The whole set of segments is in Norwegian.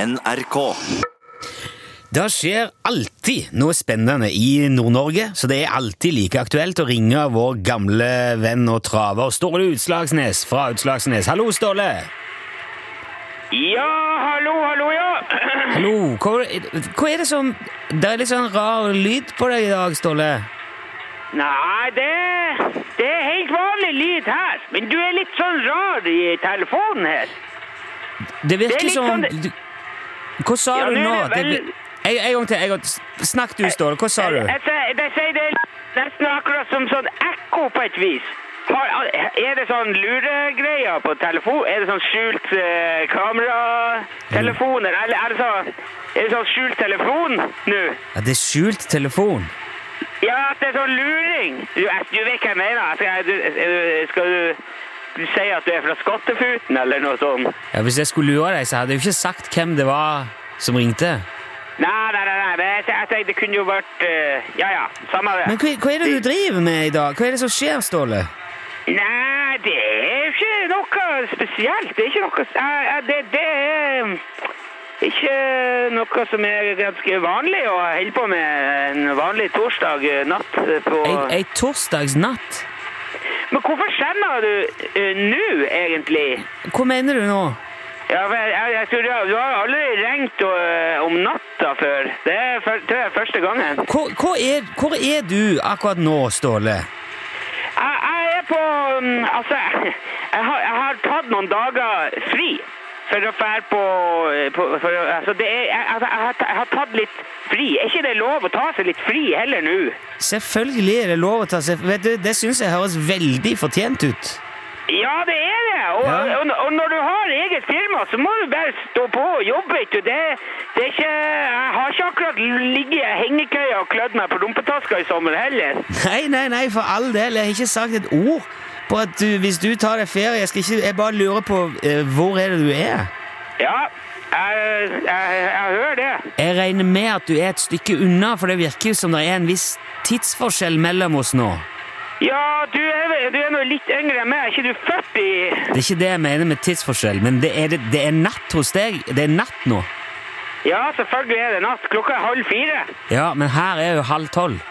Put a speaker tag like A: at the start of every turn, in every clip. A: NRK.
B: Det skjer alltid noe spennende i Nord-Norge, så det er alltid like aktuelt å ringe vår gamle venn og traver Ståle Utslagsnes fra Utslagsnes. Hallo, Ståle!
C: Ja, hallo, hallo, ja.
B: Hallo! Hva, hva er det som Det er litt sånn rar lyd på deg i dag, Ståle.
C: Nei, det, det er helt vanlig lyd her. Men du er litt sånn rar i telefonen her.
B: Det
C: Det er
B: virker
C: litt
B: som
C: sånn-
B: du, Hva sa
C: Ja,
B: du
C: det
B: nå?
C: er
B: Det,
C: vel-
B: vir- en, en gang til. En gang til. Snakk du, Ståle. Hva sa du?
C: Jeg, jeg, sier- jeg sier det er nesten akkurat som sånn ekko på et vis. Har, er det sånn luregreier på telefon? Er det sånn skjult eh, kameratelefoner? Eller er det sånn, er det sånn skjult telefon nå?
B: Ja, det er skjult telefon.
C: Ja, at det er sånn luring. Du, jeg- du vet hva jeg mener. Skal du, er du- skal du, du si at du er fra Skattefuten eller noe sånt?
B: Ja, hvis jeg skulle lure deg, så hadde jeg jo ikke sagt hvem det var som ringte.
C: Nei, nei, nei, nei. men Jeg, jeg tenkte det kunne jo vært eh, Ja, ja, samme det.
B: Men hva, hva er det du driver med i dag? Hva er det som skjer, Ståle?
C: Nei, det er ikke noe spesielt. Det er ikke noe s- eh, eh, Det, det er ikke noe som er ganske vanlig å holde på med en vanlig torsdag eh, natt på
B: Ei, ei torsdagsnatt?
C: Men hvorfor skjønner du eh, nå, egentlig?
B: Hva mener du nå?
C: Ja, for jeg, jeg, jeg tror du, har- du har aldri ringt eh, om natta før. Det er, fyr- det er første gangen.
B: Hvor, hvor, er, hvor er du akkurat nå, Ståle?
C: Jeg, jeg er på mm, Altså, jeg har, jeg har tatt noen dager fri for å fære på, på for, å- Altså, det er, jeg, altså, jeg, har, ta- jeg har tatt litt fri. Er ikke det lov å ta seg litt fri heller nå?
B: Selvfølgelig er det lov å ta seg Vet du, Det syns jeg høres veldig fortjent ut.
C: Ja, det er det! Og,
B: Ja.
C: og, og når du har eget firma, så må du bare stå på og jobbe, vet du. Det, det er ikke Jeg har ikke akkurat ligget i hengekøya og klødd meg på rumpetaska i sommer heller.
B: Nei, nei, nei, for all del. Jeg har ikke sagt et ord på at du, hvis du tar deg ferie Jeg, skal ikke, jeg bare lurer på eh, hvor er det du er.
C: Ja, jeg, jeg, jeg hører det.
B: Jeg regner med at du er et stykke unna, for det virker jo som det er en viss tidsforskjell mellom oss nå.
C: Ja, du er, vel- du er nå litt yngre enn meg. Er ikke du født i
B: Det er ikke det jeg mener med tidsforskjell, men det er, det, det er natt hos deg. Det er natt nå.
C: Ja, selvfølgelig er det natt. Klokka er halv fire.
B: Ja, men her er jo halv tolv.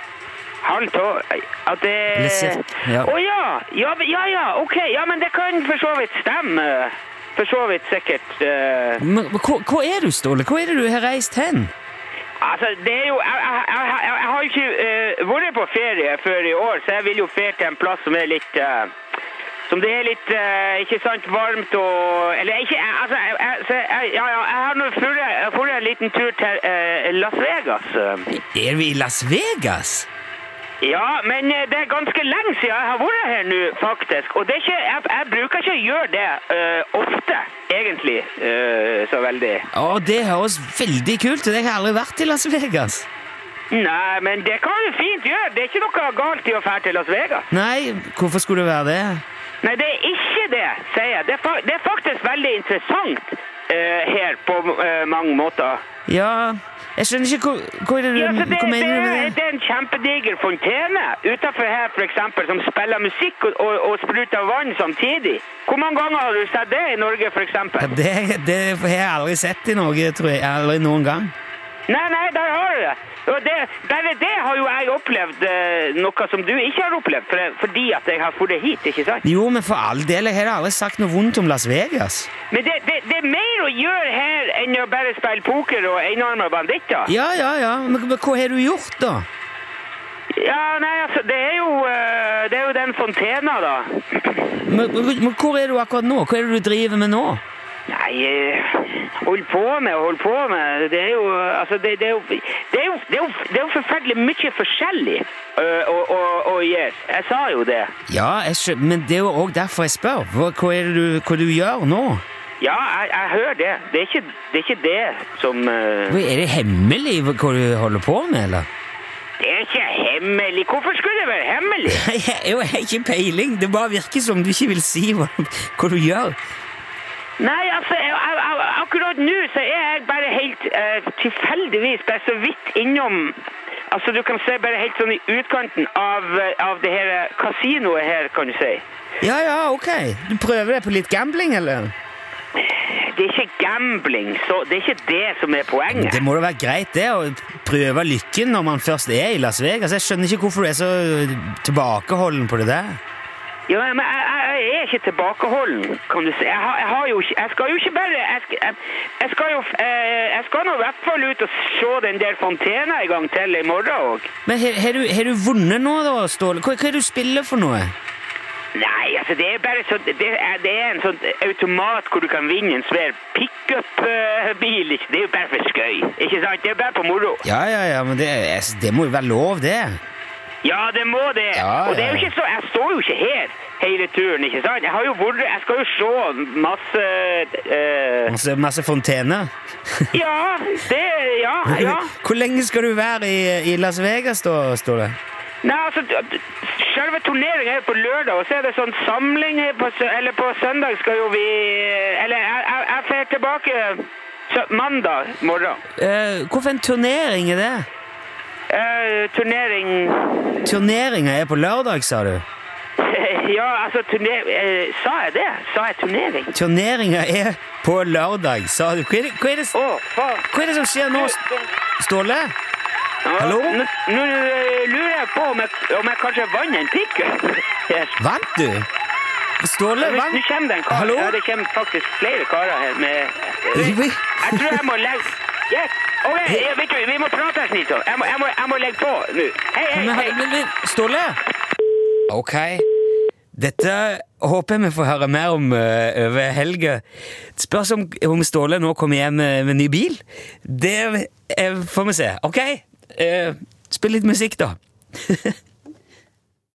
C: Halv tolv At det
B: Eller cirka, ja.
C: Å ja. ja! men- Ja ja, ok. Ja, men det kan for så vidt stemme. For så vidt sikkert. eh.
B: Men hva, hva er du, Ståle? Hvor er det du har reist hen?
C: altså, det er jo Jeg, jeg, jeg, jeg- jeg har jo ikke eh, vært på ferie før i år, så jeg vil jo fære til en plass som er litt eh, som det er litt eh, ikke sant, varmt og Eller ikke jeg- Altså, jeg, jeg, så jeg, ja, ja, jeg har nå dratt en liten tur til eh, Las Vegas. eh.
B: Er vi i Las Vegas?
C: Ja, men eh, det er ganske lenge siden jeg har vært her nå, faktisk. Og det er ikke, jeg, jeg bruker ikke å gjøre det eh, ofte, egentlig, eh, så veldig.
B: Å, det høres veldig kult ut. Jeg har aldri vært i Las Vegas.
C: Nei, men det kan du fint gjøre. Det er ikke noe galt i å fære til Las Vegas.
B: Nei, hvorfor skulle det være det?
C: Nei, det er ikke det, sier jeg. Det er, fa det er faktisk veldig interessant eh, her på eh, mange måter.
B: Ja, jeg skjønner ikke hva, hva, er det, du-
C: Ja, så det,
B: hva mener du
C: det,
B: med
C: er-
B: det?
C: det er en kjempediger fontene utenfor her, for eksempel, som spiller musikk og, og, og spruter vann samtidig. Hvor mange ganger har du sett det i Norge, for eksempel?
B: Ja, det, det har jeg aldri sett i Norge, tror jeg. Aldri noen gang.
C: Nei, nei, der har du det. Og det bare det har jo jeg opplevd eh, noe som du ikke har opplevd, for, fordi at jeg har dratt hit, ikke sant?
B: Jo, men for all del, jeg har aldri sagt noe vondt om Las Vegas.
C: Men det, det, det er mer å gjøre her enn å bare spille poker og enarma banditter.
B: Ja, ja, ja, men, men hva har du gjort, da?
C: Ja, nei, altså, det er jo, eh, det er jo den fontena, da.
B: Men, men, men hvor er du akkurat nå? Hva er det du driver med nå?
C: Nei, eh, hold på med, hold på med. Det er jo, eh, altså, det, det er jo, det er jo, det er jo, det er jo forferdelig mye forskjellig eh, å, å, å gjøre. Jeg sa jo det.
B: Ja, jeg skjø men det er jo òg derfor jeg spør. Hva, hva er det du, hva du gjør nå?
C: Ja, jeg, jeg hører det. Det er ikke det, er ikke det som eh,
B: Hva, er det hemmelig hva hva du holder på med, eller?
C: Det er ikke hemmelig. Hvorfor skulle det være hemmelig?
B: Jeg har jo ikke peiling. Det bare virker som du ikke vil si hva, hva du gjør.
C: Nei, altså, jeg, jeg, jeg, akkurat nå så er jeg bare helt eh, tilfeldigvis bare så vidt innom Altså, du kan se bare helt sånn i utkanten av, eh, av det her eh, kasinoet her, kan du si.
B: Ja, ja, ok. Du prøver deg på litt gambling, eller?
C: det er ikke gambling, så det er ikke det som er poenget.
B: Det må da være greit det, å prøve lykken når man først er i Las Vegas. Jeg skjønner ikke hvorfor du er så tilbakeholden på det der.
C: Ja, men jeg, jeg- jeg er ikke tilbakeholden, kan du si. Jeg, har, jeg, har jo ikke, jeg skal jo ikke bare Jeg, sk- jeg, jeg skal jo eh, Jeg skal nå i hvert fall ut og se den der fontena en gang til i morgen òg.
B: Men har- har du, har du vunnet nå, da, Ståle? Hva, hva er det du spiller for noe?
C: Nei, altså det er bare sånn det, er- det er en sånn automat hvor du kan vinne en svær pickup-bil. ikke? Det er jo bare for skøy. Ikke sant? Det er bare på moro.
B: Ja, ja, ja, men det, er- altså, det må jo være lov, det.
C: Ja, det må det.
B: Ja, ja.
C: Og det er jo ikke så Jeg står jo ikke her hele turen, ikke sant? Jeg har jo vært Jeg skal jo se masse eh,
B: Masse, masse fontener.
C: Ja, det Ja, ja.
B: Hvor lenge skal du være i, i Las Vegas, da, Ståle?
C: Nei, altså, d- d- selve turneringen er jo på lørdag, og så er det sånn samling her på, sø- eller på søndag skal jo vi Eller jeg, jeg, jeg fer tilbake sø- mandag morgen.
B: Eh, hvorfor en turnering er det?
C: Eh, turnering
B: Turneringa er på lørdag, sa du?
C: Ja, altså turner... eh, sa jeg det? Sa jeg turnering?
B: Turneringa er på lørdag, sa du. Hva er det, hva er det,
C: Å, faen.
B: hva er det som skjer nå, Ståle?
C: Ja,
B: Hallo?
C: Nå, nå eh, lurer jeg på om jeg, om jeg kanskje vant en pickup. her.
B: Vant du? Ståle
C: Nå
B: vant?
C: nå kommer det en kar.
B: Hallo?
C: Ja, det kommer faktisk flere karer her med eh,
B: Ivrig.
C: Jeg tror jeg må legge yes. Ok, ja, vet du, vi må prate her, Snito. Jeg må, jeg må, jeg må legge på nå. Hei, hei,
B: Men,
C: hei.
B: men, men, Ståle? Ok. Dette håper jeg vi får høre mer om eh, over helga. Spørs om, om Ståle nå kommer hjem eh, med ny bil. Det eh, får vi se. Ok? Eh, spill litt musikk, da.